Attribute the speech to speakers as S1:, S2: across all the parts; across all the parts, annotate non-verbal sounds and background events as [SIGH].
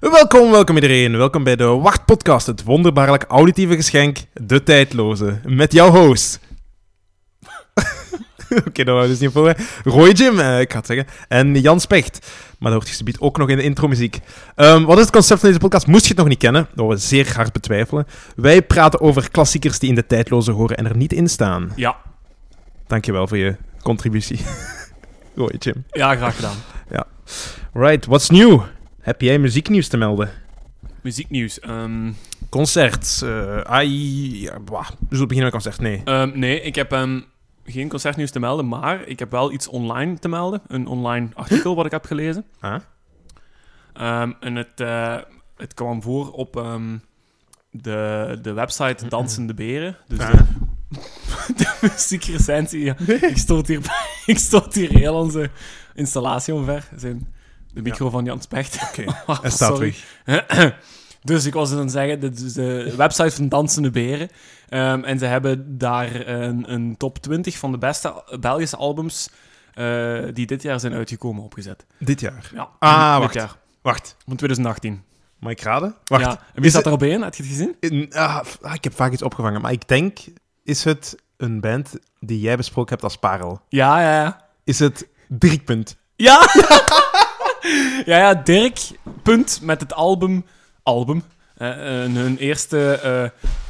S1: Welkom, welkom iedereen. Welkom bij de Wachtpodcast, het wonderbaarlijk auditieve geschenk, de tijdloze. Met jouw host. [LAUGHS] Oké, dat houden we dus niet voor. hè. Roy Jim, eh, ik ga het zeggen. En Jan Specht. Maar dat hoort je subiet ook nog in de intromuziek. Ehm, wat is het concept van deze podcast? Moest je het nog niet kennen, wat we zeer hard betwijfelen. Wij praten over klassiekers die in de tijdloze horen en er niet in staan.
S2: Ja,
S1: Dankjewel voor je contributie. [LAUGHS] Roy Jim.
S2: ja graag gedaan.
S1: Right, what's new? Heb jij muzieknieuws te melden?
S2: Muzieknieuws. Ehm,
S1: Concerts. eh ai, ja, bah. We zullen beginnen met concert. Nee.
S2: ehm, nee, ik heb ehm, geen concertnieuws te melden, maar ik heb wel iets online te melden. Een online artikel wat ik heb gelezen.
S1: Ah.
S2: Ehm, en het, eh, het kwam voor op ehm, de, de website Dansende Beren. Dus
S1: Ah.
S2: de, [LAUGHS] de muziekrecensie. ja. Ik, stoot hier, [LAUGHS] ik stoot hier heel onze installatie omver. Zijn de micro van Jan Specht.
S1: Oké.
S2: [LAUGHS] Oh,
S1: Hij staat
S2: sorry.
S1: terug.
S2: [CLEARS THROAT] dus ik was aan het zeggen, dit is de website van Dansende Beren. Ehm, en ze hebben daar een, een top 20 van de beste Belgische albums eh, die dit jaar zijn uitgekomen opgezet.
S1: Dit jaar.
S2: Ja,
S1: Ah,
S2: dit
S1: wacht.
S2: jaar.
S1: Wacht.
S2: Van 2018.
S1: Mag ik raden? Wacht.
S2: Ja. En wie
S1: Is
S2: staat
S1: het-
S2: erop in? Heb je het gezien?
S1: In- ah, f- ah, ik heb vaak iets opgevangen, maar ik denk... Is het een band die jij besproken hebt als parel?
S2: Ja, ja, ja.
S1: Is het Driekpunt?
S2: Ja! [LAUGHS] ja, ja, Dirk, punt, met het album... Album. Eh, eh, hun eerste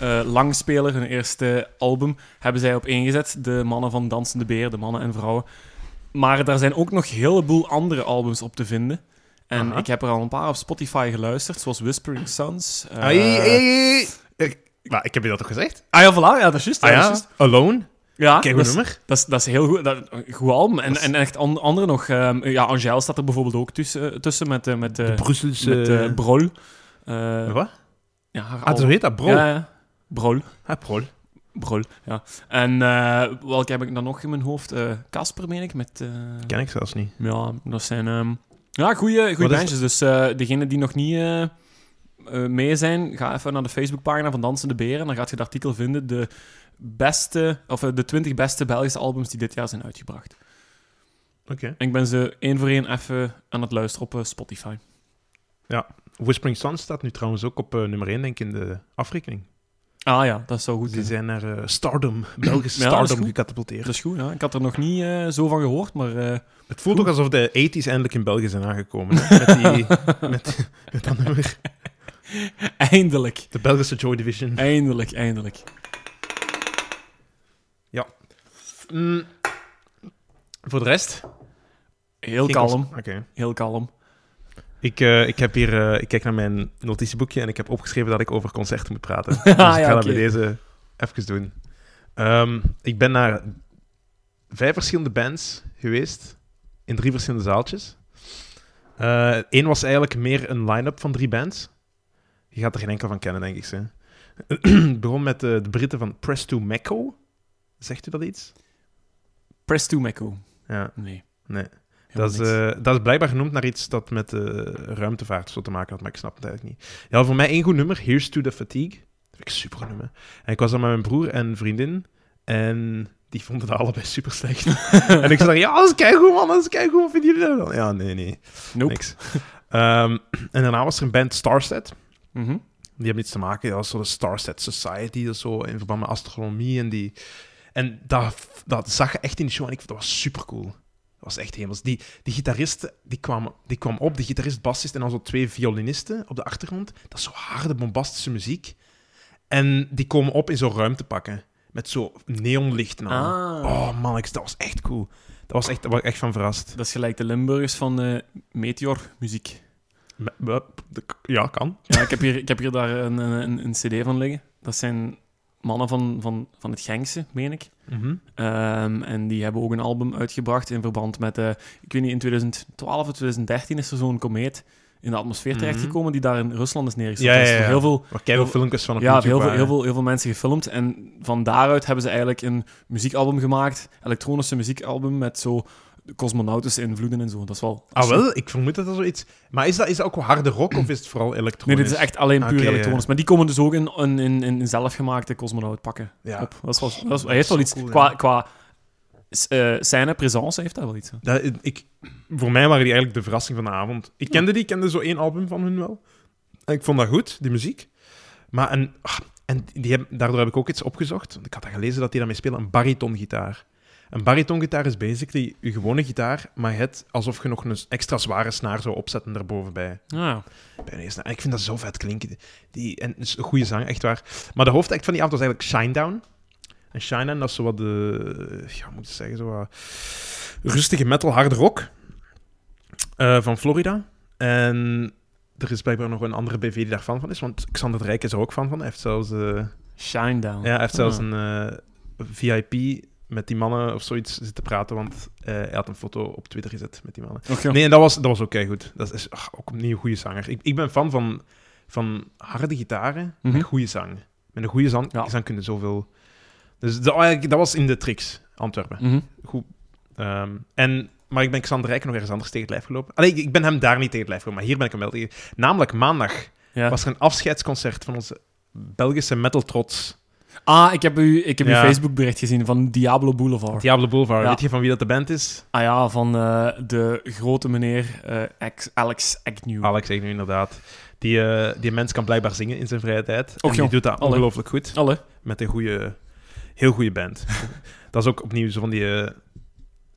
S2: eh, eh, langspeler, hun eerste album, hebben zij op ingezet. De mannen van Dansende Beer, de mannen en vrouwen. Maar daar zijn ook nog een heleboel andere albums op te vinden. En
S1: Aha.
S2: ik heb er al een paar op Spotify geluisterd, zoals Whispering Suns. eh,
S1: Ai, ai, ai, ai. Ik- Maar ik heb je dat toch gezegd?
S2: Ah ja, voilà, ja, dat is juist.
S1: Ah
S2: dat is
S1: ja?
S2: juist.
S1: Alone? Kijk,
S2: Ja, Ah, dat
S1: goed
S2: is-
S1: nummer.
S2: Dat is, dat is heel goed. Dat, een goed album. En, en echt an- andere nog. ehm, ja, Angel staat er bijvoorbeeld ook tussen, eh, tussen met, eh, met, eh,
S1: Brusselse...
S2: met eh, Brol. Eh,
S1: Wat?
S2: ja, haar
S1: Ah, zo
S2: album.
S1: heet dat, bro.
S2: Ja, ja. Brol.
S1: Ah, Brol.
S2: Brol, ja. En eh, welke heb ik dan nog in mijn hoofd? Eh, Casper, meen ik, met... eh,
S1: Ken ik zelfs niet.
S2: ja, dat zijn... ehm, ja, goede
S1: Wat is-
S2: bandjes. Dus eh degenen die nog niet... eh, eh, mee zijn, ga even naar de Facebookpagina van Dansende Beren. Dan gaat je het artikel vinden. De, beste, of eh, de 20 beste Belgische albums die dit jaar zijn uitgebracht.
S1: Oké.
S2: En ik ben ze één voor één even aan het luisteren op eh, Spotify.
S1: Whispering Suns staat nu trouwens ook op eh, nummer 1, denk ik, in de afrekening.
S2: Ah ja, dat zou goed
S1: Ze
S2: zijn.
S1: zijn naar eh, Stardom, [CLEARS THROAT] Belgische
S2: Ja, dat is
S1: Stardom,
S2: goed.
S1: gecatapulteerd.
S2: Dat is goed, ja. Ik had er nog niet eh, zo van gehoord, maar... eh, [LAUGHS]
S1: Het voelt ook alsof de 80s eindelijk in België zijn aangekomen. hè,
S2: [LAUGHS]
S1: Met, die, met, met dat nummer.
S2: eindelijk.
S1: De Belgische Joy Division.
S2: Eindelijk, eindelijk.
S1: Mm. Voor de rest?
S2: Heel
S1: Geen
S2: kalm,
S1: kost- Oké.
S2: heel kalm.
S1: Ik, eh, ik, heb hier, eh, ik kijk naar mijn notitieboekje en ik heb opgeschreven dat ik over concerten moet
S2: [LAUGHS]
S1: praten. dus ik
S2: Ah, Ja,
S1: ga dat
S2: oké.
S1: bij deze even doen. Ehm, ik ben naar vijf verschillende bands geweest in drie verschillende zaaltjes. Eén was eigenlijk meer een line-up van drie bands. Je gaat er geen enkel van kennen, denk ik. Ze. [CLEARS THROAT] Het begon met eh, de Britten van Press to Mecco. Zegt u dat iets?
S2: Press to Mecco.
S1: Ja.
S2: Nee.
S1: Nee. Dat
S2: Helemaal
S1: is,
S2: niks.
S1: eh, dat is blijkbaar genoemd naar iets dat met eh, ruimtevaart zo te maken had, maar ik snap het eigenlijk niet. Ja, voor mij één goed nummer, Here's to the Fatigue. Dat vind ik super nummer. En ik was dan met mijn broer en vriendin en die vonden het allebei super slecht.
S2: [LAUGHS]
S1: en ik zei, daar, ja, dat is keigoed man, dat is keigoed, wat vinden jullie dat dan? Ja, nee, nee,
S2: Nope.
S1: eh, niks. Ehm, en daarna was er een band, Starset.
S2: Mhm.
S1: Die hebben iets te maken, dat is zo de Starset Society, dat is zo in verband met astronomie en die... En dat, dat zag je echt in de show en ik vond dat was super cool. Dat was echt hemels. Die, die gitarist die kwam, die kwam op, de gitarist, bassist en dan zo twee violinisten op de achtergrond. Dat is zo harde, bombastische muziek. En die komen op in zo'n ruimtepakken met zo neonlicht. aan.
S2: Ah,
S1: Oh man, ik- dat was echt cool. Dat was echt, daar was ik echt van verrast.
S2: dat is gelijk de Limburgers van eh, Meteor Muziek.
S1: Me- me- de- Ja, kan.
S2: Ja, ik heb hier, ik heb hier daar een, een, een cd van liggen. Dat zijn mannen van, van, van het Genkse, meen ik.
S1: Mhm.
S2: Ehm, en die hebben ook een album uitgebracht in verband met, eh, ik weet niet, in 2012 of 2013 is er zo'n komeet in de atmosfeer
S1: Mhm.
S2: terechtgekomen die daar in Rusland is neergestort.
S1: Ja,
S2: Er is
S1: ja,
S2: voor
S1: ja.
S2: Heel veel,
S1: Maar kijk filmpjes van op
S2: ja,
S1: YouTube
S2: heel veel,
S1: waren.
S2: heel, veel, heel veel mensen gefilmd. En van daaruit hebben ze eigenlijk een muziekalbum gemaakt, elektronische muziekalbum met zo cosmonautische invloeden en zo. Dat is wel...
S1: Ah, wel? Ik vermoed dat dat zoiets... Maar is dat, is dat ook wel harde rock of is het vooral
S2: Nee,
S1: elektronisch?
S2: dit is echt alleen puur
S1: Oké, ja.
S2: elektronisch. Maar die komen dus ook in, in, in, in zelfgemaakte cosmonaut pakken.
S1: Ja.
S2: Op. Dat is wel, dat is,
S1: dat
S2: hij heeft
S1: is
S2: wel
S1: zo
S2: iets...
S1: cool,
S2: qua
S1: ja.
S2: qua s- eh, scène, presence heeft hij wel iets. hè.
S1: eh, Dat, ik, voor mij waren die eigenlijk de verrassing van de avond. Ik kende die, ik kende zo één album van hun wel. En ik vond dat goed, die muziek. Maar een, ah, en die heb, daardoor heb ik ook iets opgezocht. Ik had dat gelezen dat die daarmee spelen, een baritongitaar. Een baritongitaar is basically je gewone gitaar, maar je hebt alsof je nog een extra zware snaar zou opzetten daarbovenbij.
S2: Ah,
S1: Bij een eerste- en ik vind dat zo vet klinken. Die, en het is een goede zang, echt waar. Maar de hoofdact van die avond was eigenlijk Shinedown. En Shinedown, dat is zo wat de... Ja, hoe moet ik zeggen? Zo wat rustige metal, hard rock. eh, van Florida. En er is blijkbaar nog een andere BV die daar fan van is. Want Xander Drijk is er ook fan van. Hij heeft zelfs... eh,
S2: Shine Down.
S1: ja, hij heeft zelfs
S2: Ah.
S1: een eh, VIP met die mannen of zoiets zitten praten, want eh, hij had een foto op Twitter gezet met die mannen.
S2: Oké.
S1: Nee, en dat was, dat was ook goed. Dat is ah, ook opnieuw een goede zanger. Ik, ik ben fan van, van harde gitaren
S2: Mhm.
S1: met goede zang. Met een goede zang,
S2: Ja.
S1: zang kunnen zoveel... Dus dat, eigenlijk, dat was in de tricks, Antwerpen.
S2: Mhm.
S1: Goed. Ehm, en, maar ik ben Xander Rijk nog ergens anders tegen het lijf gelopen. Allee, ik, ik ben hem daar niet tegen het lijf gelopen, maar hier ben ik hem wel tegen. Namelijk maandag
S2: Ja.
S1: was er een afscheidsconcert van onze Belgische metal trots.
S2: Ah, ik heb, u, ik heb
S1: Ja.
S2: uw Facebookbericht gezien van Diablo Boulevard.
S1: Diablo Boulevard.
S2: Ja.
S1: Weet je van wie dat de band is?
S2: Ah ja, van eh, de grote meneer eh, ex- Alex Agnew.
S1: Alex zegt nu inderdaad. Die, eh, die mens kan blijkbaar zingen in zijn vrije tijd.
S2: Och,
S1: en die
S2: joh.
S1: doet dat
S2: Allee.
S1: ongelooflijk goed.
S2: Alle.
S1: Met een goede, heel goede band. dat is ook opnieuw zo van die eh,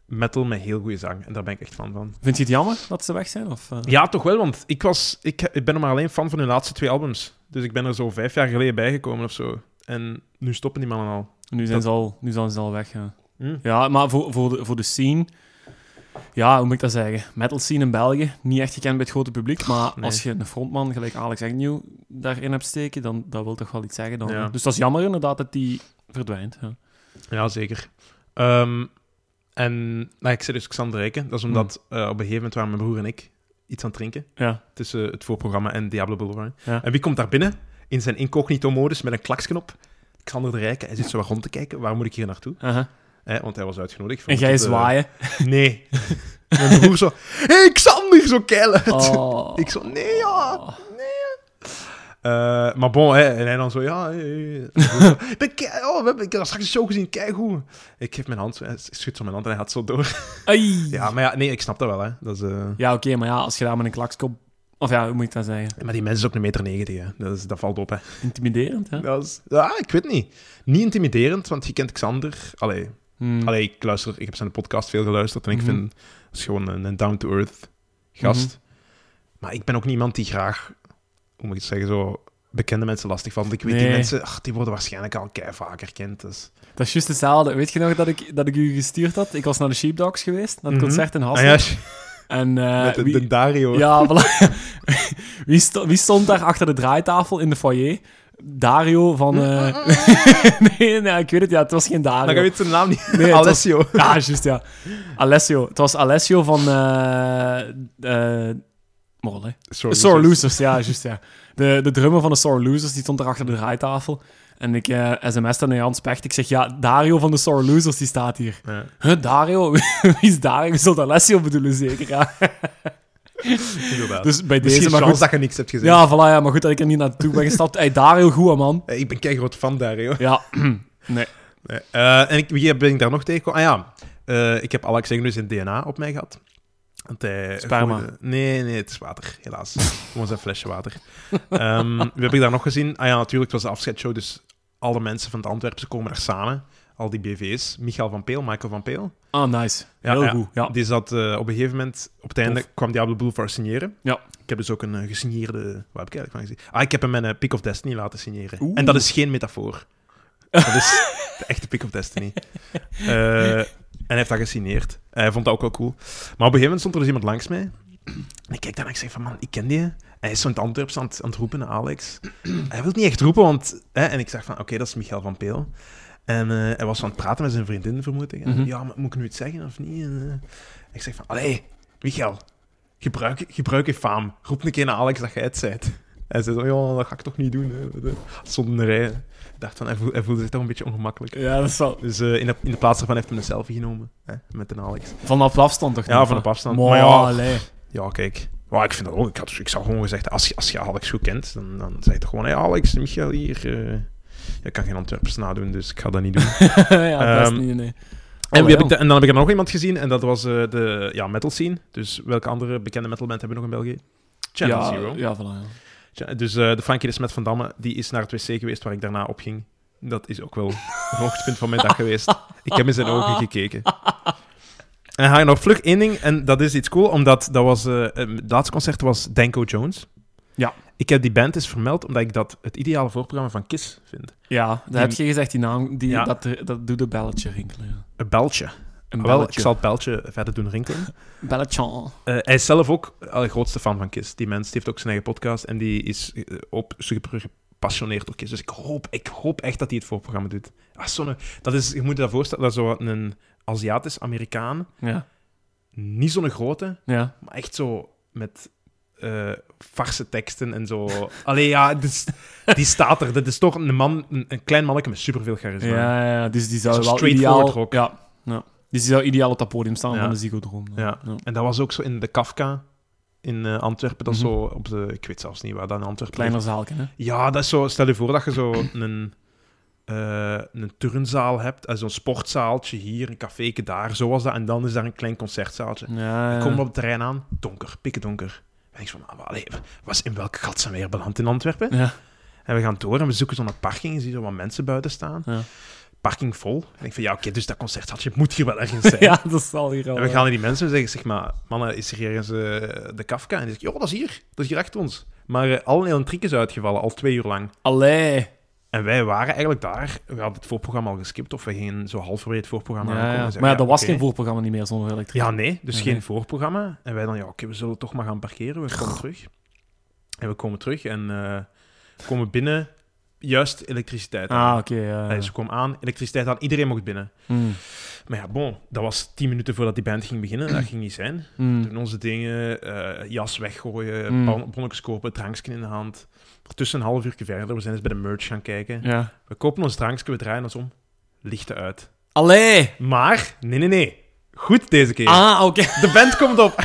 S1: metal met heel goede zang. En daar ben ik echt fan van.
S2: Vind je het jammer dat ze weg zijn? Of, eh?
S1: Ja, toch wel, want ik, was, ik, ik ben maar alleen fan van hun laatste twee albums. Dus ik ben er zo vijf jaar geleden bijgekomen of zo. En nu stoppen die mannen al.
S2: Nu, zijn ze al, nu zijn ze al weg. Ja,
S1: Hm.
S2: ja maar voor, voor, de, voor de scene... Ja, hoe moet ik dat zeggen? Metal scene in België, niet echt gekend bij het grote publiek, maar
S1: nee.
S2: als je een frontman gelijk Alex Agnew daarin hebt steken, dan dat wil toch wel iets zeggen. Dan,
S1: Ja.
S2: Dus dat is jammer inderdaad dat die verdwijnt. Ja.
S1: Ja, zeker. Ehm, en nou, ik zei dus Xander Rijken. Dat is omdat eh, op een gegeven moment waren mijn broer en ik iets aan het drinken.
S2: Ja.
S1: tussen het voorprogramma en Diablo Boulevard.
S2: Ja.
S1: En wie komt daar binnen? In zijn incognito-modus met een klaksknop. Xander de Rijken. Hij zit zo wat rond te kijken. Waar moet ik hier naartoe?
S2: aha.
S1: Hè, want hij was uitgenodigd. voor
S2: En jij
S1: tot, eh,
S2: zwaaien.
S1: Nee. [LAUGHS] Mijn broer zo... hey, Xander! Zo keilend.
S2: Oh.
S1: Ik zo... Nee, ja. Eh, maar bon, hè, en hij dan zo, ja, hey, hey. En zo,
S2: [LAUGHS]
S1: ik ben kei- oh, we hebben, ik heb dat straks een show gezien, kijk hoe. Ik geef mijn hand, hij schudt zo mijn hand en hij gaat zo door.
S2: Ai. Ja,
S1: Ja, maar ja, nee, ik snap dat wel, hè. Dat is, eh,
S2: oké, maar ja, als je daar met een klakskop... Of ja, hoe moet ik dat zeggen?
S1: Maar die mensen is ook een meter negentig, hè. Dat, is, dat valt op, hè.
S2: Intimiderend, hè?
S1: Dat is, ja, ik weet niet. Niet intimiderend, want je kent Xander. Allee,
S2: Hmm.
S1: allee ik, luister, ik heb zijn podcast veel geluisterd en ik
S2: Mhm.
S1: vind dat is gewoon een, een down-to-earth gast.
S2: Mm-hmm.
S1: Maar ik ben ook niemand die graag, hoe moet ik het zeggen, zo bekende mensen lastig valt. Ik weet die
S2: Nee.
S1: mensen, ach, die worden waarschijnlijk al kei vaak herkend. Dus.
S2: Dat is juist hetzelfde. Weet je nog dat ik, dat ik u gestuurd had? Ik was naar de Sheepdogs geweest, naar het
S1: Mhm.
S2: concert in
S1: Ah
S2: Hasselt.
S1: ja, [LAUGHS]
S2: En eh,
S1: met de,
S2: wie,
S1: de Dario.
S2: ja, voilà. [LAUGHS] wie, sto- wie stond daar achter de draaitafel in de foyer? Dario van...
S1: Mm,
S2: eh, [LAUGHS] nee, nee, ik weet het, ja, het was geen
S1: Maar ik
S2: Dario.
S1: weet zijn naam niet. [LAUGHS]
S2: Nee, het was-
S1: Alessio.
S2: [LAUGHS] Ja, juist, ja. Alessio. Het was Alessio van... eh eh Morrel, hè?
S1: Sorry,
S2: Sore Losers, ja, juist, ja. De, de drummer van de Sore Losers, die stond daar achter de draaitafel. En ik eh sms'te naar Jan Specht. Ik zeg, ja, Dario van de Sore Losers, die staat hier.
S1: Ja.
S2: Huh, Dario? [LAUGHS] Wie is Dario? Je zult Alessio bedoelen, zeker, ja.
S1: Inderdaad.
S2: Dus bij
S1: Misschien
S2: deze, maar
S1: chance
S2: goed.
S1: dat je niks hebt gezien.
S2: Ja, voilà, ja, maar goed dat ik er niet naartoe ben gestapt. Hey, Dario, goed, hè, man.
S1: Eh, Ik ben kei groot fan Dario.
S2: Ja. Nee.
S1: Nee. Eh, en ik, wie ben ik daar nog tegengekomen? Ah ja, eh, ik heb Alex Agnew zijn DNA op mij gehad. Want hij
S2: Sperma.
S1: gooide- Nee, nee, het is water, helaas. Gewoon zijn flesje water. Ehm, wie heb ik daar nog gezien? Ah ja, natuurlijk, het was de afscheidshow, dus alle mensen van het Antwerpse komen daar samen. Al die BV's. Michael van Peel, Michael van Peel.
S2: Ah, nice.
S1: Ja,
S2: Heel
S1: ja.
S2: goed, ja.
S1: Die zat eh, op een gegeven moment, op het einde kwam Diablo Boulevard signeren.
S2: Ja.
S1: Ik heb dus ook een eh, gesigneerde, waar heb ik eigenlijk van gezien? Ah, ik heb hem mijn eh, Pick of Destiny laten signeren.
S2: Oeh.
S1: En dat is geen metafoor. Dat
S2: [LAUGHS]
S1: is de echte Pick of Destiny. Eh, en hij heeft dat gesigneerd. Eh, hij vond dat ook wel cool. Maar op een gegeven moment stond er dus iemand langs mij. En ik kijk dan en ik zeg van, man, ik ken die. hè. Hij is zo'n Antwerps aan, het- aan het roepen, naar Alex. hij wil niet echt roepen, want... Hè, en ik zeg van, oké, dat is Michael van Peel. En eh, hij was aan het praten met zijn vriendin, vermoed ik. En,
S2: Mhm.
S1: Ja, maar moet ik nu iets zeggen of niet? En, eh, ik zeg van, allee, Michael, gebruik, gebruik je faam. Roep een keer naar Alex dat jij het zijt. Hij zei zo, ja, dat ga ik toch niet doen. Hè. Zonder rij. Ik dacht van, hij voelde, hij voelde zich toch een beetje ongemakkelijk.
S2: Ja, dat is wel...
S1: Dus eh, in, de, in de plaats daarvan heeft hij een selfie genomen hè, met een Alex.
S2: Vanaf afstand, toch?
S1: Ja,
S2: niet?
S1: vanaf afstand.
S2: Maar
S1: Maar
S2: ja,
S1: ja.
S2: allee. [LAUGHS]
S1: Ja, kijk. Maar ik vind dat ook. Ik, had, ik zou gewoon gezegd, als je, als je Alex goed kent, dan, dan zeg je toch gewoon, hey, Alex, Michael hier. eh, ja, ik kan geen Antwerps nadoen, dus ik ga dat niet [LAUGHS] doen.
S2: ja, dat is
S1: Ehm,
S2: niet, nee.
S1: en, wie heb ik
S2: Allee,
S1: da- en dan heb ik er nog iemand gezien, en dat was eh, de ja, metal scene. Dus welke andere bekende metalband hebben we nog in België? Channel
S2: ja,
S1: Zero.
S2: Ja, voilà, ja.
S1: Tja, Dus eh, de Frankie de Smet van Damme, die is naar het wc geweest waar ik daarna op ging. Dat is ook wel een hoogtepunt van mijn dag geweest. Ik heb in zijn ogen gekeken. En dan ga ik nog vlug één ding, en dat is iets cool, omdat dat was, eh, eh, het laatste concert was Danko Jones.
S2: Ja.
S1: Ik heb die band eens vermeld, omdat ik dat het ideale voorprogramma van Kiss vind.
S2: Ja, dat
S1: Die-
S2: heb je gezegd, die naam. Die,
S1: Ja.
S2: dat, dat doet een belletje rinkelen.
S1: Een beltje.
S2: Een
S1: Ah, Wel, ik
S2: belletje.
S1: zal het beltje verder doen rinkelen.
S2: Belletje.
S1: Eh, hij is zelf ook de grootste fan van Kiss. Die mens die heeft ook zijn eigen podcast en die is eh, op, super gepassioneerd door Kiss. Dus ik hoop, ik hoop echt dat hij het voorprogramma doet. Ah, zo'n- dat is, je moet je dat voorstellen, dat is zo een Aziatisch-Amerikaan.
S2: Ja.
S1: Niet zo'n grote,
S2: Ja.
S1: maar echt zo met eh farse teksten en
S2: [LAUGHS]
S1: zo. Allee, ja, dus, die staat er. Dat is toch een man, een, een klein manneke met superveel charisma.
S2: Ja, ja, ja, dus die zou
S1: Zo'n
S2: wel
S1: straightforward
S2: ideaal...
S1: rock.
S2: Ja, ja. Dus die zou ideaal op dat podium staan
S1: Ja.
S2: van de Ziggo Dome.
S1: Ja. En dat was ook zo in de Kafka in eh, Antwerpen. Dat is
S2: Mhm.
S1: zo op de... Ik weet zelfs niet waar dat in Antwerpen ligt.
S2: Kleiner zaalje, hè?
S1: Ja, dat is zo. Stel je voor dat je zo [CLEARS THROAT] een, eh, een turnzaal hebt, eh, zo'n sportzaaltje hier, een caféke daar, zo was dat. En dan is daar een klein concertzaaltje.
S2: Ja, ja.
S1: Kom op het terrein aan, donker, pikken donker. En ik zo van, ah, allee, was in welk gat zijn we hier beland in Antwerpen?
S2: Ja.
S1: En we gaan door en we zoeken zo'n parking. Je ziet zo wat mensen buiten staan.
S2: Ja.
S1: Parking vol. En ik denk van, ja, oké, dus dat concertzaaltje moet hier wel
S2: [LAUGHS]
S1: ergens zijn.
S2: [LAUGHS] ja, dat zal hier al...
S1: En we gaan naar die mensen en zeggen, zeg maar, mannen, is er hier ergens eh, de Kafka? En die zegt, joh, dat is hier. Dat is hier achter ons. Maar eh, al een hele trick is uitgevallen, al twee uur lang.
S2: Allee.
S1: En wij waren eigenlijk daar. We hadden het voorprogramma al geskipt, of we gingen zo halverwege het voorprogramma.
S2: Ja, ja.
S1: aankomen en zeiden,
S2: Maar ja, dat was
S1: oké.
S2: geen voorprogramma niet meer zonder elektriek.
S1: Ja, nee, dus
S2: Ja,
S1: geen
S2: nee.
S1: voorprogramma. En wij dan, ja, oké, we zullen toch maar gaan parkeren. We komen terug. En we komen terug en eh, komen binnen. Juist elektriciteit. aan.
S2: Ah, oké, ja.
S1: Eh, Ze kwam aan, elektriciteit aan, iedereen mocht binnen.
S2: Hmm.
S1: Maar ja, bon, dat was tien minuten voordat die band ging beginnen. Dat ging niet zijn.
S2: Hmm.
S1: Doen onze dingen, eh, jas weggooien,
S2: Mm.
S1: bon- bonnetjes kopen, drankje in de hand. Tussen een half uurtje verder, we zijn eens bij de merch gaan kijken.
S2: Ja.
S1: We kopen ons drankje, we draaien ons om. Lichten uit.
S2: Allee!
S1: Maar, nee, nee, nee. Goed deze keer.
S2: Ah, oké.
S1: De band komt
S2: [LAUGHS]
S1: op.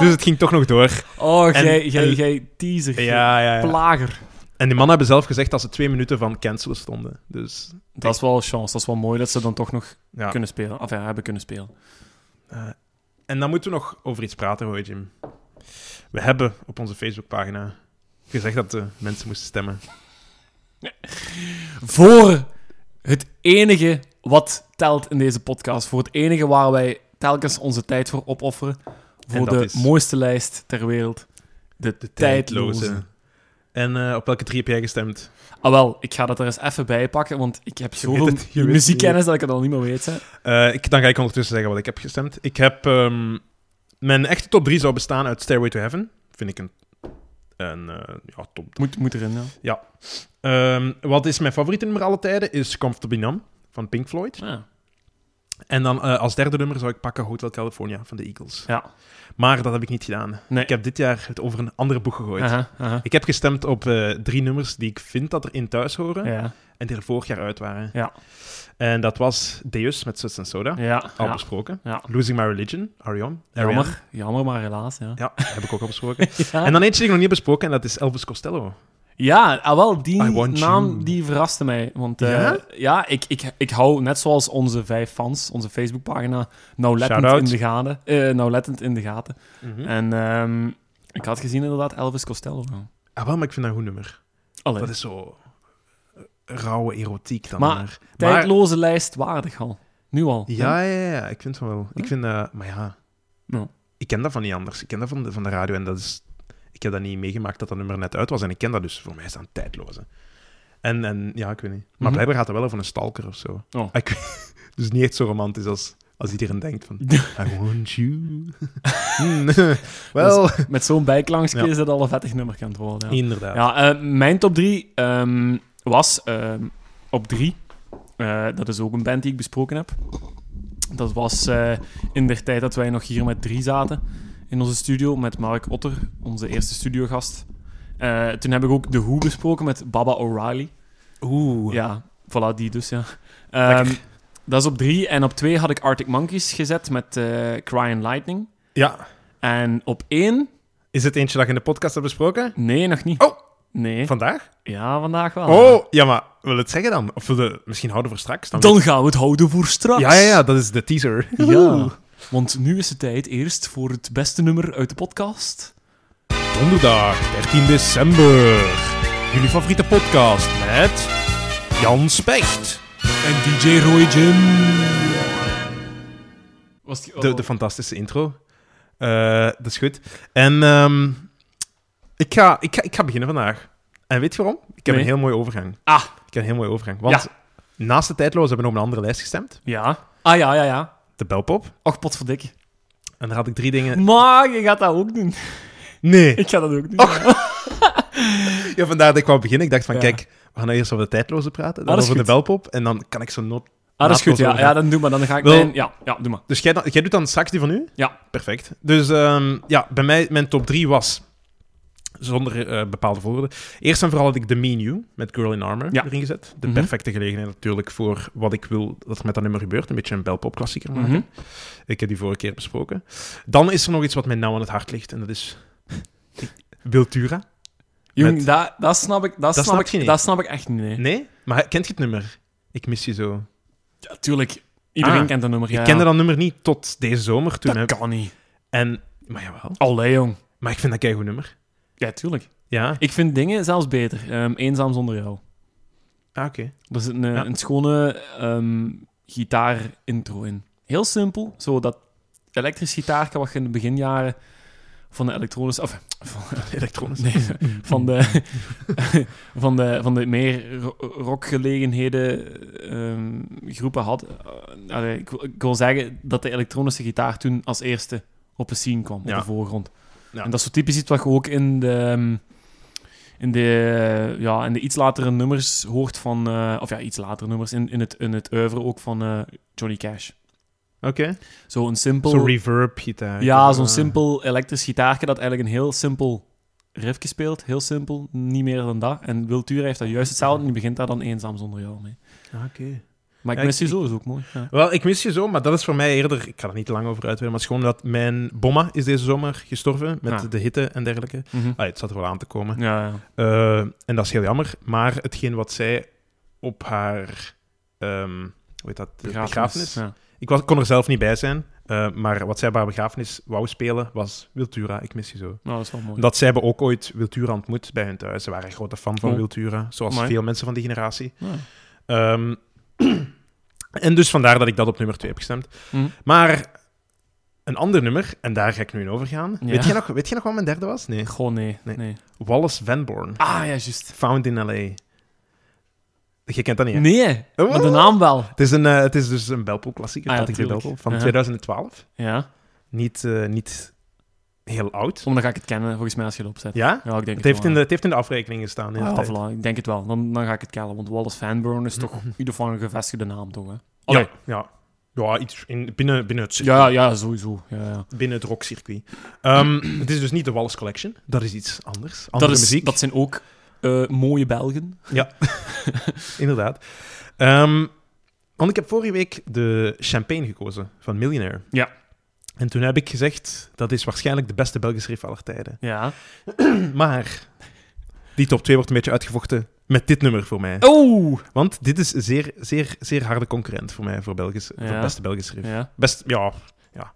S1: dus het ging toch nog door.
S2: Oh,
S1: En-
S2: jij- jij
S1: en-
S2: jij teaser.
S1: Ja, ja, ja.
S2: Plager.
S1: En die mannen hebben zelf gezegd dat ze twee minuten van cancelen stonden. Dus,
S2: Dat is wel een chance. Dat is wel mooi dat ze dan toch nog
S1: ja.
S2: kunnen spelen. Of ja, hebben kunnen spelen.
S1: Eh, en dan moeten we nog over iets praten, hoor, Jim. We hebben op onze Facebookpagina gezegd dat de mensen moesten stemmen.
S2: Voor het enige wat telt in deze podcast. Voor het enige waar wij telkens onze tijd voor opofferen. Voor
S1: dat
S2: de
S1: is-
S2: mooiste lijst ter wereld. De, tijdloze.
S1: En eh, op welke drie heb jij gestemd?
S2: Ah wel, ik ga dat er eens even bij pakken, want ik heb
S1: weet
S2: zoveel
S1: het, je weet het
S2: muziekkennis dat ik het al niet meer weet. Hè.
S1: Eh, ik, dan ga ik ondertussen zeggen wat ik heb gestemd. Ik heb... ehm, mijn echte top 3 zou bestaan uit Stairway to Heaven. Vind ik een, een eh, ja, top
S2: Moet, moet erin, ja.
S1: Ehm, wat is mijn favoriete nummer alle tijden? Is Comfortably Numb van Pink Floyd.
S2: Ja.
S1: En dan eh, als derde nummer zou ik pakken Hotel California van de Eagles.
S2: Ja.
S1: Maar dat heb ik niet gedaan.
S2: Nee.
S1: Ik heb dit jaar het over een andere boek gegooid.
S2: Aha, aha.
S1: Ik heb gestemd op eh, drie nummers die ik vind dat er in thuis horen
S2: Ja,
S1: en die er vorig jaar uit waren.
S2: Ja.
S1: En dat was Deus met Suts and Soda,
S2: ja,
S1: al
S2: ja.
S1: besproken.
S2: Ja.
S1: Losing My Religion, Arion. Ariana.
S2: Jammer, jammer, maar helaas, ja. [LAUGHS]
S1: Ja, heb ik ook al besproken.
S2: Ja,
S1: [LAUGHS] En dan eentje die ik nog niet heb besproken en dat is Elvis Costello.
S2: ja ah, wel, die
S1: I want
S2: naam
S1: you.
S2: die verraste mij. Want eh,
S1: Ja?
S2: ja, ik, ik, ik hou, net zoals onze vijf fans, onze Facebookpagina, nauwlettend
S1: Shout-out.
S2: in de gaten. eh, nauwlettend in de gaten.
S1: Mhm.
S2: En ehm, ik had gezien inderdaad Elvis Costello.
S1: Ah, wel, maar ik vind dat een goed nummer.
S2: Allee,
S1: Dat is zo eh, rauwe erotiek dan maar.
S2: Maar
S1: Maar,
S2: tijdloze lijst waardig al. Nu al.
S1: ja, ja, ja, ik vind het wel. Ik
S2: Ja.
S1: vind, eh, maar ja,
S2: Ja.
S1: ik ken dat van niet anders. Ik ken dat van de, van de radio en dat is... Ik heb dat niet meegemaakt dat dat nummer net uit was en ik ken dat dus. Voor mij is dat een tijdloze. En, en ja, ik weet niet. Maar
S2: Mhm.
S1: blijkbaar gaat dat wel over een stalker of zo.
S2: Oh.
S1: Ik weet- [LAUGHS] dus niet echt zo romantisch als, als iedereen denkt
S2: [LAUGHS]
S1: van... I want you. Hmm, [LAUGHS] wel...
S2: Met zo'n bijklankje
S1: Ja.
S2: is dat al een vettig nummer kan worden. Dus, Ja,
S1: Inderdaad.
S2: ja eh, mijn top 3 was ehm, op 3. dat is ook een band die ik besproken heb. Dat was eh, in de tijd dat wij nog hier met drie zaten in onze studio met Mark Otter, onze eerste studiogast. Eh, toen heb ik ook The Who besproken met Baba O'Reilly.
S1: Oeh.
S2: Ja, voilà, die dus, ja. Ehm, dat is op 3. En op 2 had ik Arctic Monkeys gezet met eh Crying Lightning.
S1: Ja.
S2: En op 1
S1: Is het eentje dat je in de podcast hebt besproken?
S2: Nee, nog niet.
S1: Oh!
S2: Nee. Ah.
S1: Vandaag?
S2: Ja, vandaag wel.
S1: Oh, ja, maar wil het zeggen dan? Of wil je- misschien houden we voor straks? Dan
S2: Dan gaan we het houden voor straks.
S1: Ja, ja, ja, dat is de teaser.
S2: Ja. Want nu is het tijd eerst voor het beste nummer uit de podcast.
S1: Oeh. Donderdag, 13 december. Jullie favoriete podcast met Jan Specht.
S2: En DJ Roy Jim. Was die, oh.
S1: De, de fantastische intro. Eh, dat is goed. En ehm, ik, ga, ik, ga, ik ga beginnen vandaag. En weet je waarom? Ik heb
S2: Nee.
S1: een heel mooi overgang.
S2: Ah.
S1: Ik heb een heel mooi overgang. Want naast de tijdloos hebben we nog op een andere lijst gestemd.
S2: Ja. Ah ja, ja, ja.
S1: De Belpop.
S2: Och, potverdikke.
S1: En daar had ik drie
S2: [LAUGHS]
S1: dingen...
S2: Maar je gaat dat
S1: [LAUGHS]
S2: ook doen.
S1: Nee.
S2: Ik ga dat ook doen.
S1: Ja, vandaar dat ik wou beginnen. Ik dacht van,
S2: Ja.
S1: kijk, we gaan nou eerst over de tijdloze praten, dan
S2: Ah, dat is
S1: over de
S2: goed.
S1: belpop, en dan kan ik zo nood...
S2: Ah, dat is goed. Ja,
S1: naadloos
S2: ja
S1: overgaan.
S2: dan doe maar. Dan ga ik
S1: Wel-
S2: mijn... Ja, ja, doe maar.
S1: Dus jij, dan- jij doet dan straks die van u?
S2: Ja.
S1: Perfect. Dus ehm, ja, bij mij, mijn top 3 was, zonder eh, bepaalde volgorde, eerst en vooral had ik The Mean You met Girl in Armor
S2: Ja.
S1: erin gezet. De
S2: Mhm.
S1: perfecte gelegenheid natuurlijk voor wat ik wil dat er met dat nummer gebeurt. Een beetje een belpop klassieker maken.
S2: Mhm.
S1: Ik heb die vorige keer besproken. Dan is er nog iets wat mij nauw aan het hart ligt, en dat is... [LAUGHS] Wiltura.
S2: Jong,
S1: Met-
S2: dat, dat snap ik, dat
S1: Dat
S2: snap
S1: snap
S2: ik,
S1: je niet.
S2: dat snap ik echt niet. Nee.
S1: Nee? Maar kent je het nummer? Ik mis je zo.
S2: Ja, tuurlijk, iedereen
S1: Ah,
S2: kent dat nummer. Ja,
S1: Ik kende dat nummer niet tot deze zomer. Toen
S2: Dat
S1: heb-
S2: kan niet.
S1: En, maar jawel.
S2: Allee, jong.
S1: Maar ik vind dat een goed nummer.
S2: Ja, tuurlijk.
S1: Ja,
S2: Ik vind dingen zelfs beter. Ehm, eenzaam zonder jou.
S1: ah, oké. [LAUGHS]
S2: Er zit een, eh,
S1: Ja.
S2: een schone ehm gitaar-intro in. Heel simpel, zo dat elektrisch gitaarke wat je in de beginjaren van de elektronische... Of, [LAUGHS] van,
S1: Elektronisch.
S2: nee,
S1: [LAUGHS]
S2: van de, [LAUGHS] van de, van de meer ro- rockgelegenheden ehm, groepen had. Eh, allee, ik, wil- ik wil zeggen dat de elektronische gitaar toen als eerste op de scene kwam,
S1: Ja.
S2: op de voorgrond.
S1: Ja.
S2: En dat is zo typisch iets wat je ook in de, ehm, in de, eh, ja, in de iets latere nummers hoort van... eh, of ja, iets latere nummers in, in, het, in het oeuvre ook van eh, Johnny Cash.
S1: Oké.
S2: Zo'n simpel...
S1: Zo'n reverb-gitaar.
S2: Ja, zo'n
S1: Ah.
S2: simpel elektrisch gitaarje dat eigenlijk een heel simpel riffje speelt. Heel simpel, niet meer dan dat. En Wiltura heeft dat juist hetzelfde en die begint daar dan eenzaam zonder jou mee.
S1: Ah, oké.
S2: Maar ik
S1: Ja,
S2: mis
S1: ik-
S2: je zo, is ook mooi. Ja.
S1: Wel, ik mis je zo, maar dat is voor mij eerder... Ik ga er niet te lang over uitweiden, maar het is gewoon dat mijn bomma is deze zomer gestorven met
S2: Ah.
S1: de hitte en dergelijke.
S2: Mhm.
S1: Allee, het zat er wel aan te komen.
S2: ja, ja.
S1: Eh, en dat is heel jammer. Maar hetgeen wat zij op haar... ehm, hoe heet dat? begrafenis?
S2: Ja.
S1: Ik was, kon er zelf niet bij zijn, eh, maar wat zij bij haar begrafenis wou spelen was Wiltura, ik mis je zo.
S2: Nou, dat is wel mooi.
S1: Dat zij hebben ook ooit Wiltura ontmoet bij hun thuis. Ze waren een grote fan van
S2: Oh.
S1: Wiltura, zoals
S2: Amai.
S1: veel mensen van die generatie.
S2: Ja.
S1: Ehm, [CLEARS THROAT] en dus vandaar dat ik dat op nummer 2 heb gestemd.
S2: Mhm.
S1: Maar een ander nummer, en daar ga ik nu in overgaan.
S2: Ja.
S1: Weet, jij nog, weet jij nog wat mijn derde was? Nee.
S2: Goh, nee, nee.
S1: Nee. Wallace Vanborn,
S2: Ah, ja, juist.
S1: Found in L.A. Je kent dat niet, hè?
S2: Nee,
S1: Oh.
S2: maar de naam wel.
S1: Het, is een, eh, het is dus een Belpo-klassieker,
S2: Ah, ja,
S1: Patrick de
S2: tuurlijk.
S1: Belpo, van
S2: Ja.
S1: 2012.
S2: Ja,
S1: Niet, eh, niet heel oud.
S2: Oh, dan ga ik het kennen, volgens mij, als je het opzet.
S1: Ja?
S2: Ja, ik
S1: Het
S2: denk het,
S1: heeft,
S2: wel,
S1: in
S2: ja.
S1: de, het heeft in de afrekening gestaan. in de
S2: Ah,
S1: tijd.
S2: voilà, ik denk het wel. Dan, dan ga ik het kennen, want Wallace Fanburn is toch in ieder geval een gevestigde naam, toch? Hè? Allee.
S1: Ja, ja. ja iets in, binnen, binnen, het, circuit,
S2: Ja, ja, sowieso. Ja, ja.
S1: binnen het rockcircuit. Ehm, [CLEARS THROAT] het is dus niet de Wallace Collection. Dat is iets anders. Andere
S2: dat, is,
S1: muziek,
S2: dat zijn ook eh, mooie Belgen.
S1: inderdaad. Ehm, want ik heb vorige week de champagne gekozen van Millionaire.
S2: Ja.
S1: En toen heb ik gezegd, dat is waarschijnlijk de beste Belgische riff aller tijden. [CLEARS THROAT]
S2: Ja.
S1: Maar die top 2 wordt een beetje uitgevochten met dit nummer voor mij.
S2: Oh!
S1: Want dit is een zeer, zeer, zeer harde concurrent voor mij, voor, Belgische, voor
S2: Ja.
S1: beste Belgische riff.
S2: Ja.
S1: Best, ja. ja.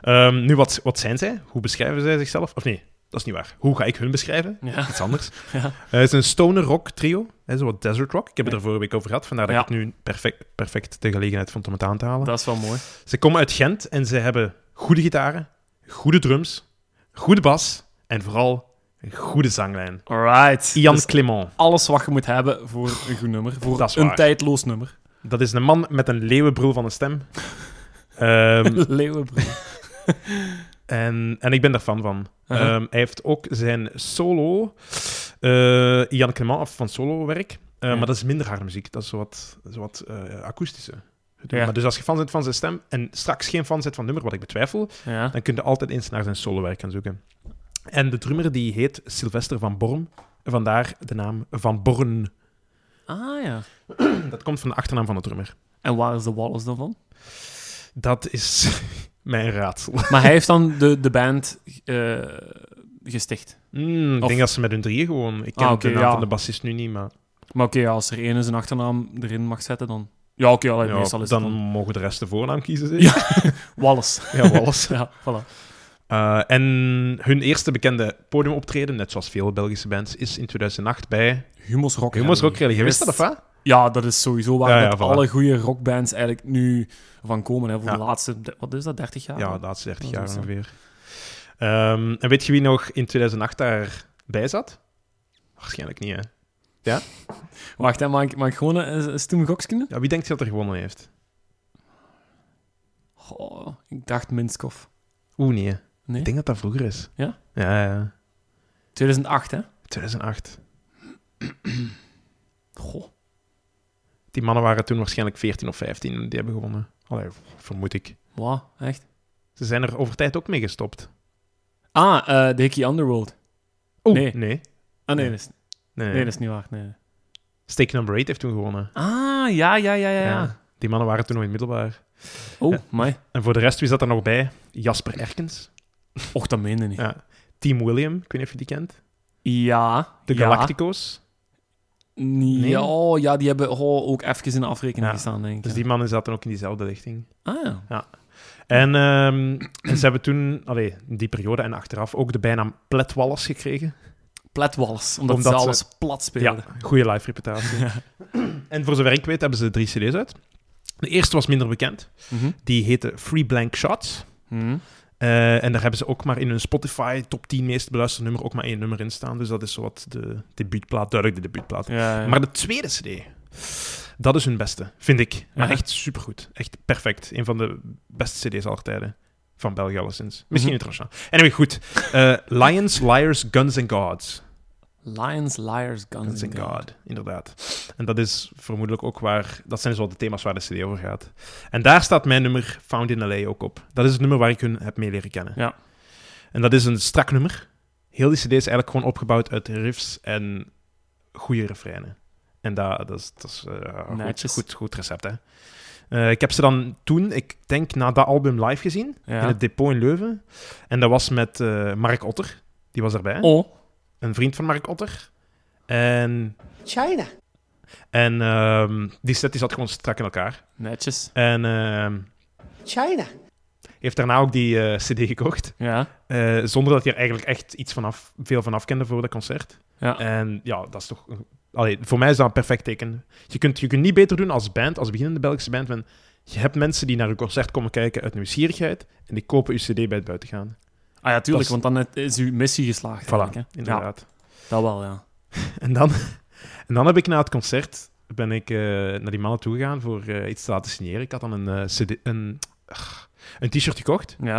S1: Ehm, nu, wat, wat zijn zij? Hoe beschrijven zij zichzelf? Of nee, dat is niet waar. Hoe ga ik hun beschrijven?
S2: Ja.
S1: Iets [LAUGHS] anders.
S2: Ja.
S1: Eh, het is een stoner rock trio, hè, zo wat desert rock. Ik heb het er vorige week over gehad, vandaar dat
S2: Ja.
S1: ik het nu perfect, perfect de gelegenheid vond om het aan te halen.
S2: Dat is wel mooi.
S1: Ze komen uit Gent en ze hebben goede gitaren, goede drums, goede bas en vooral een goede zanglijn.
S2: Alright.
S1: Ian
S2: Dus
S1: Clement.
S2: alles wat je moet hebben voor een goed nummer. Voor
S1: Dat is
S2: een
S1: waar.
S2: tijdloos nummer. [LAUGHS]
S1: Dat is een man met een leeuwenbrul van een stem. Ehm,
S2: Leeuwenbril.
S1: en, en ik ben daar fan van.
S2: Aha.
S1: Ehm, hij heeft ook zijn solo, eh Ian Clement, af van solo-werk. Eh,
S2: Ja.
S1: Maar dat is minder harde muziek. Dat is wat, wat eh akoestische.
S2: Ja.
S1: Maar dus als je fan bent van zijn stem en straks geen fan bent van het nummer, wat ik betwijfel,
S2: ja.
S1: dan kun je altijd eens naar zijn solo-werk gaan zoeken. En de drummer die heet Sylvester van Born. Vandaar de naam Van Born. [CLEARS THROAT]
S2: Ah ja.
S1: Dat komt van de achternaam van de drummer.
S2: En waar is de Wallace dan van?
S1: Dat is [LAUGHS] mijn raadsel.
S2: Maar hij heeft dan de, de band eh, gesticht.
S1: Mm, ik
S2: Of-
S1: denk dat ze met hun drieën gewoon... Ik ken
S2: Ah, oké,
S1: de naam
S2: ja.
S1: van de bassist nu niet, maar
S2: Maar oké, ja, als er één zijn achternaam erin mag zetten, dan... Ja, oké, allee,
S1: ja,
S2: meestal is
S1: dan
S2: het
S1: mogen de rest de voornaam kiezen. zeg.
S2: Ja. dan Wallace.
S1: [LAUGHS]
S2: [LAUGHS]
S1: ja Wallace.
S2: ja, voilà.
S1: Eh, en hun eerste bekende podiumoptreden, net zoals veel Belgische bands, is in 2008 bij
S2: Humus Rock.
S1: Humo's Rock
S2: Rally.
S1: Rally. Je wist dat,
S2: Yes.
S1: of wat?
S2: Ja, dat is sowieso waar
S1: Ja, ja,
S2: dat
S1: voilà.
S2: alle goede rockbands eigenlijk nu van komen. Hè, voor
S1: Ja.
S2: de laatste, de- wat is dat, 30 jaar?
S1: Ja, de laatste 30
S2: Dat
S1: jaar
S2: is zo.
S1: ongeveer. Ehm, en weet je wie nog in 2008 daarbij zat? Waarschijnlijk niet, hè?
S2: Wacht, hè, mag, ik, mag ik gewoon eh, een, een stoem gokskunde?
S1: Ja, wie denkt je dat er gewonnen heeft?
S2: Oh, ik dacht Minskov.
S1: Oeh, nee.
S2: Nee?
S1: Ik denk dat dat vroeger is.
S2: Ja?
S1: Ja, ja.
S2: 2008, hè?
S1: 2008.
S2: Goh.
S1: Die mannen waren toen waarschijnlijk 14 of 15 en die hebben gewonnen. Allee, vermoed ik.
S2: Wow, echt.
S1: Ze zijn er over tijd ook mee gestopt.
S2: Ah, eh The Hickey Underworld.
S1: Oeh,
S2: Nee.
S1: Nee.
S2: Ah, nee,
S1: Nee.
S2: dat is,
S1: nee.
S2: nee, dat is niet waar. Nee.
S1: Steak number 8 heeft toen gewonnen.
S2: Ah, ja, ja, ja, ja. ja.
S1: Die mannen waren toen nog in het middelbaar.
S2: Oh,
S1: Ja.
S2: mij.
S1: En voor de rest, wie zat er nog bij? Jasper Erkens.
S2: Och, dat meende niet. Ja,
S1: Ja. Team William, ik weet niet of je die kent.
S2: ja.
S1: De Galactico's.
S2: Nee.
S1: Nee.
S2: Oh, ja, die hebben oh, ook even in de afrekening
S1: Ja.
S2: gestaan, denk ik.
S1: Dus
S2: ja.
S1: die mannen zaten ook in diezelfde lichting.
S2: Ah, ja.
S1: En, ehm, [CLEARS THROAT] en ze hebben toen, allee, in die periode en achteraf, ook de bijnaam Plet Wallace gekregen.
S2: Platwalls, omdat,
S1: Omdat
S2: ze
S1: ze-
S2: alles plat speelden.
S1: Ja, goede live
S2: [LAUGHS]
S1: reputatie. En voor zover ik weet, hebben ze drie cd's uit. De eerste was minder bekend.
S2: Mhm.
S1: Die heette Free Blank Shots.
S2: Mhm.
S1: Eh, en daar hebben ze ook maar in hun Spotify top 10 meest beluisterde nummer ook maar één nummer in staan. Dus dat is zowat de debuutplaat, duidelijk de debuutplaat.
S2: Ja, ja.
S1: Maar de tweede CD, dat is hun beste, vind ik. Maar
S2: Ja.
S1: echt supergoed. Echt perfect. Een van de beste CD's aller tijden. Van België, alleszins. Misschien
S2: Mhm.
S1: internationaal. Anyway, goed. Eh, Lions, Liars, Guns and Gods.
S2: Lions, Liars, Guns,
S1: Guns
S2: and
S1: and
S2: God.
S1: God, inderdaad. En dat is vermoedelijk ook waar. Dat zijn zo de thema's waar de CD over gaat. En daar staat mijn nummer Found in LA ook op. Dat is het nummer waar ik hun heb mee leren kennen.
S2: Ja.
S1: En dat is een strak nummer. Heel die CD is eigenlijk gewoon opgebouwd uit riffs en goede refreinen. En dat, dat is, dat is eh, goed,
S2: Netjes.
S1: goed, goed recept, hè. Eh, ik heb ze dan toen, ik denk na dat album live gezien,
S2: Ja.
S1: in het depot in Leuven. En dat was met eh, Mark Otter, die was erbij.
S2: Oh,
S1: Een vriend van Mark Otter. En
S3: China.
S1: en ehm, die set die zat gewoon strak in elkaar.
S2: netjes.
S1: En ehm,
S3: China.
S1: heeft daarna ook die eh, CD gekocht.
S2: Ja.
S1: eh, zonder dat hij er eigenlijk echt iets vanaf, veel van af kende voor dat concert.
S2: Ja.
S1: En ja, dat is toch. Allee, voor mij is dat een perfect teken. Je kunt, je kunt niet beter doen als band, als beginnende Belgische band. want je hebt mensen die naar een concert komen kijken uit nieuwsgierigheid. En die kopen je CD bij het buitengaan.
S2: Ah ja, tuurlijk,
S1: Dat
S2: want dan is uw missie geslaagd.
S1: Voilà,
S2: eigenlijk, hè. Ja,
S1: inderdaad.
S2: dat wel, ja.
S1: En, dan, [LAUGHS] en dan heb ik na het concert ben ik, eh, naar die mannen toegegaan voor eh, iets te laten signeren. Ik had dan een, eh, CD, een, ugh, een t-shirt gekocht.
S2: Ja.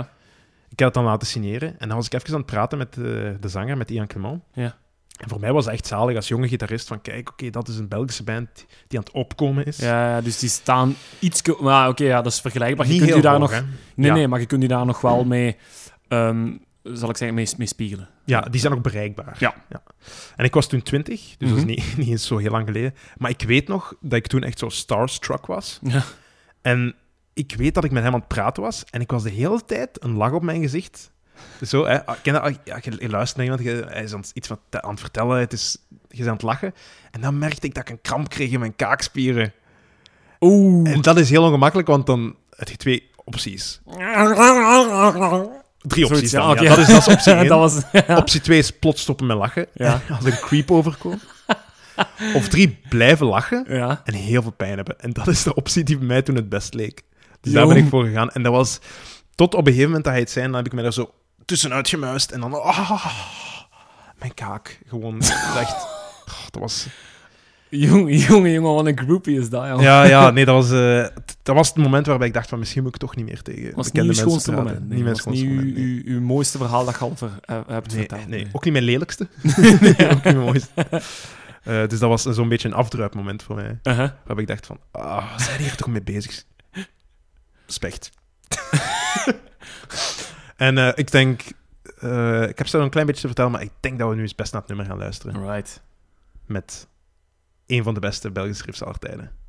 S1: Ik had het dan laten signeren. En dan was ik even aan het praten met eh, de zanger, met Ian Clement.
S2: Ja.
S1: En voor mij was het echt zalig als jonge gitarist van... Kijk, oké, dat is een Belgische band die aan het opkomen is.
S2: Ja, ja, dus die staan iets... Maar oké, ja, dat is vergelijkbaar. Je
S1: Niet
S2: kunt
S1: heel
S2: u daar
S1: hoog,
S2: nog...
S1: hè.
S2: Nee,
S1: Ja.
S2: nee, maar je kunt u daar nog wel mee... ehm, zal ik zeggen, mee, mee spiegelen.
S1: Ja, die zijn ook bereikbaar.
S2: Ja.
S1: En ik was toen twintig, dus
S2: Mhm.
S1: dat is niet, [LAUGHS] niet eens zo heel lang geleden. Maar ik weet nog dat ik toen echt zo starstruck was.
S2: Ja.
S1: En ik weet dat ik met hem aan het praten was. En ik was de hele tijd een lach op mijn gezicht. Zo, hè. Ah, Ken je, dat? ja, je je luistert naar iemand, je- hij is aan het- iets van, te- aan het vertellen, het is, je bent aan het lachen. En dan merkte ik dat ik een kramp kreeg in mijn kaakspieren.
S2: Oeh.
S1: En dat is heel ongemakkelijk, want dan heb je twee opties. Drie
S2: Zoiets,
S1: opties
S2: ja,
S1: dan,
S2: oké.
S1: ja. Dat is, dat is
S2: [LAUGHS]
S1: optie één.
S2: dat was...
S1: Optie 2 is plots stoppen met lachen.
S2: Ja.
S1: Als een creep overkomt. Of drie, blijven lachen
S2: Ja.
S1: en heel veel pijn hebben. En dat is de optie die bij mij toen het best leek. Dus
S2: Jong.
S1: daar ben ik voor gegaan. En dat was tot op een gegeven moment dat hij het zei, dan heb ik me daar zo tussenuit gemuist. En dan, ah, mijn kaak. Gewoon
S2: [LAUGHS]
S1: echt. Oh, dat was...
S2: Jongen, jongen, jongen, wat een groupie is dat, joh.
S1: Ja, ja, nee, dat was, eh, t- dat was het moment waarbij ik dacht van misschien moet ik toch niet meer tegen
S2: was niet
S1: bekende
S2: uw
S1: mensen
S2: schoonste
S1: praten.
S2: moment. Nee,
S1: niet mijn
S2: was niet
S1: schoonste
S2: uw,
S1: moment, nee.
S2: uw, uw mooiste verhaal dat je al ver- eh, hebt
S1: Nee,
S2: verteld.
S1: nee, ook niet mijn lelijkste. [LAUGHS] nee, ook niet mijn mooiste. Eh, dus dat was zo'n beetje een afdruipmoment voor mij.
S2: Uh-huh.
S1: Waarbij ik dacht van, ah, we zijn hier toch mee bezig? Specht. [LAUGHS] en eh, ik denk, eh, ik heb ze al een klein beetje te vertellen, maar ik denk dat we nu eens best naar het nummer gaan luisteren.
S2: Right.
S1: Met een van de beste Belgische riffs aller tijden.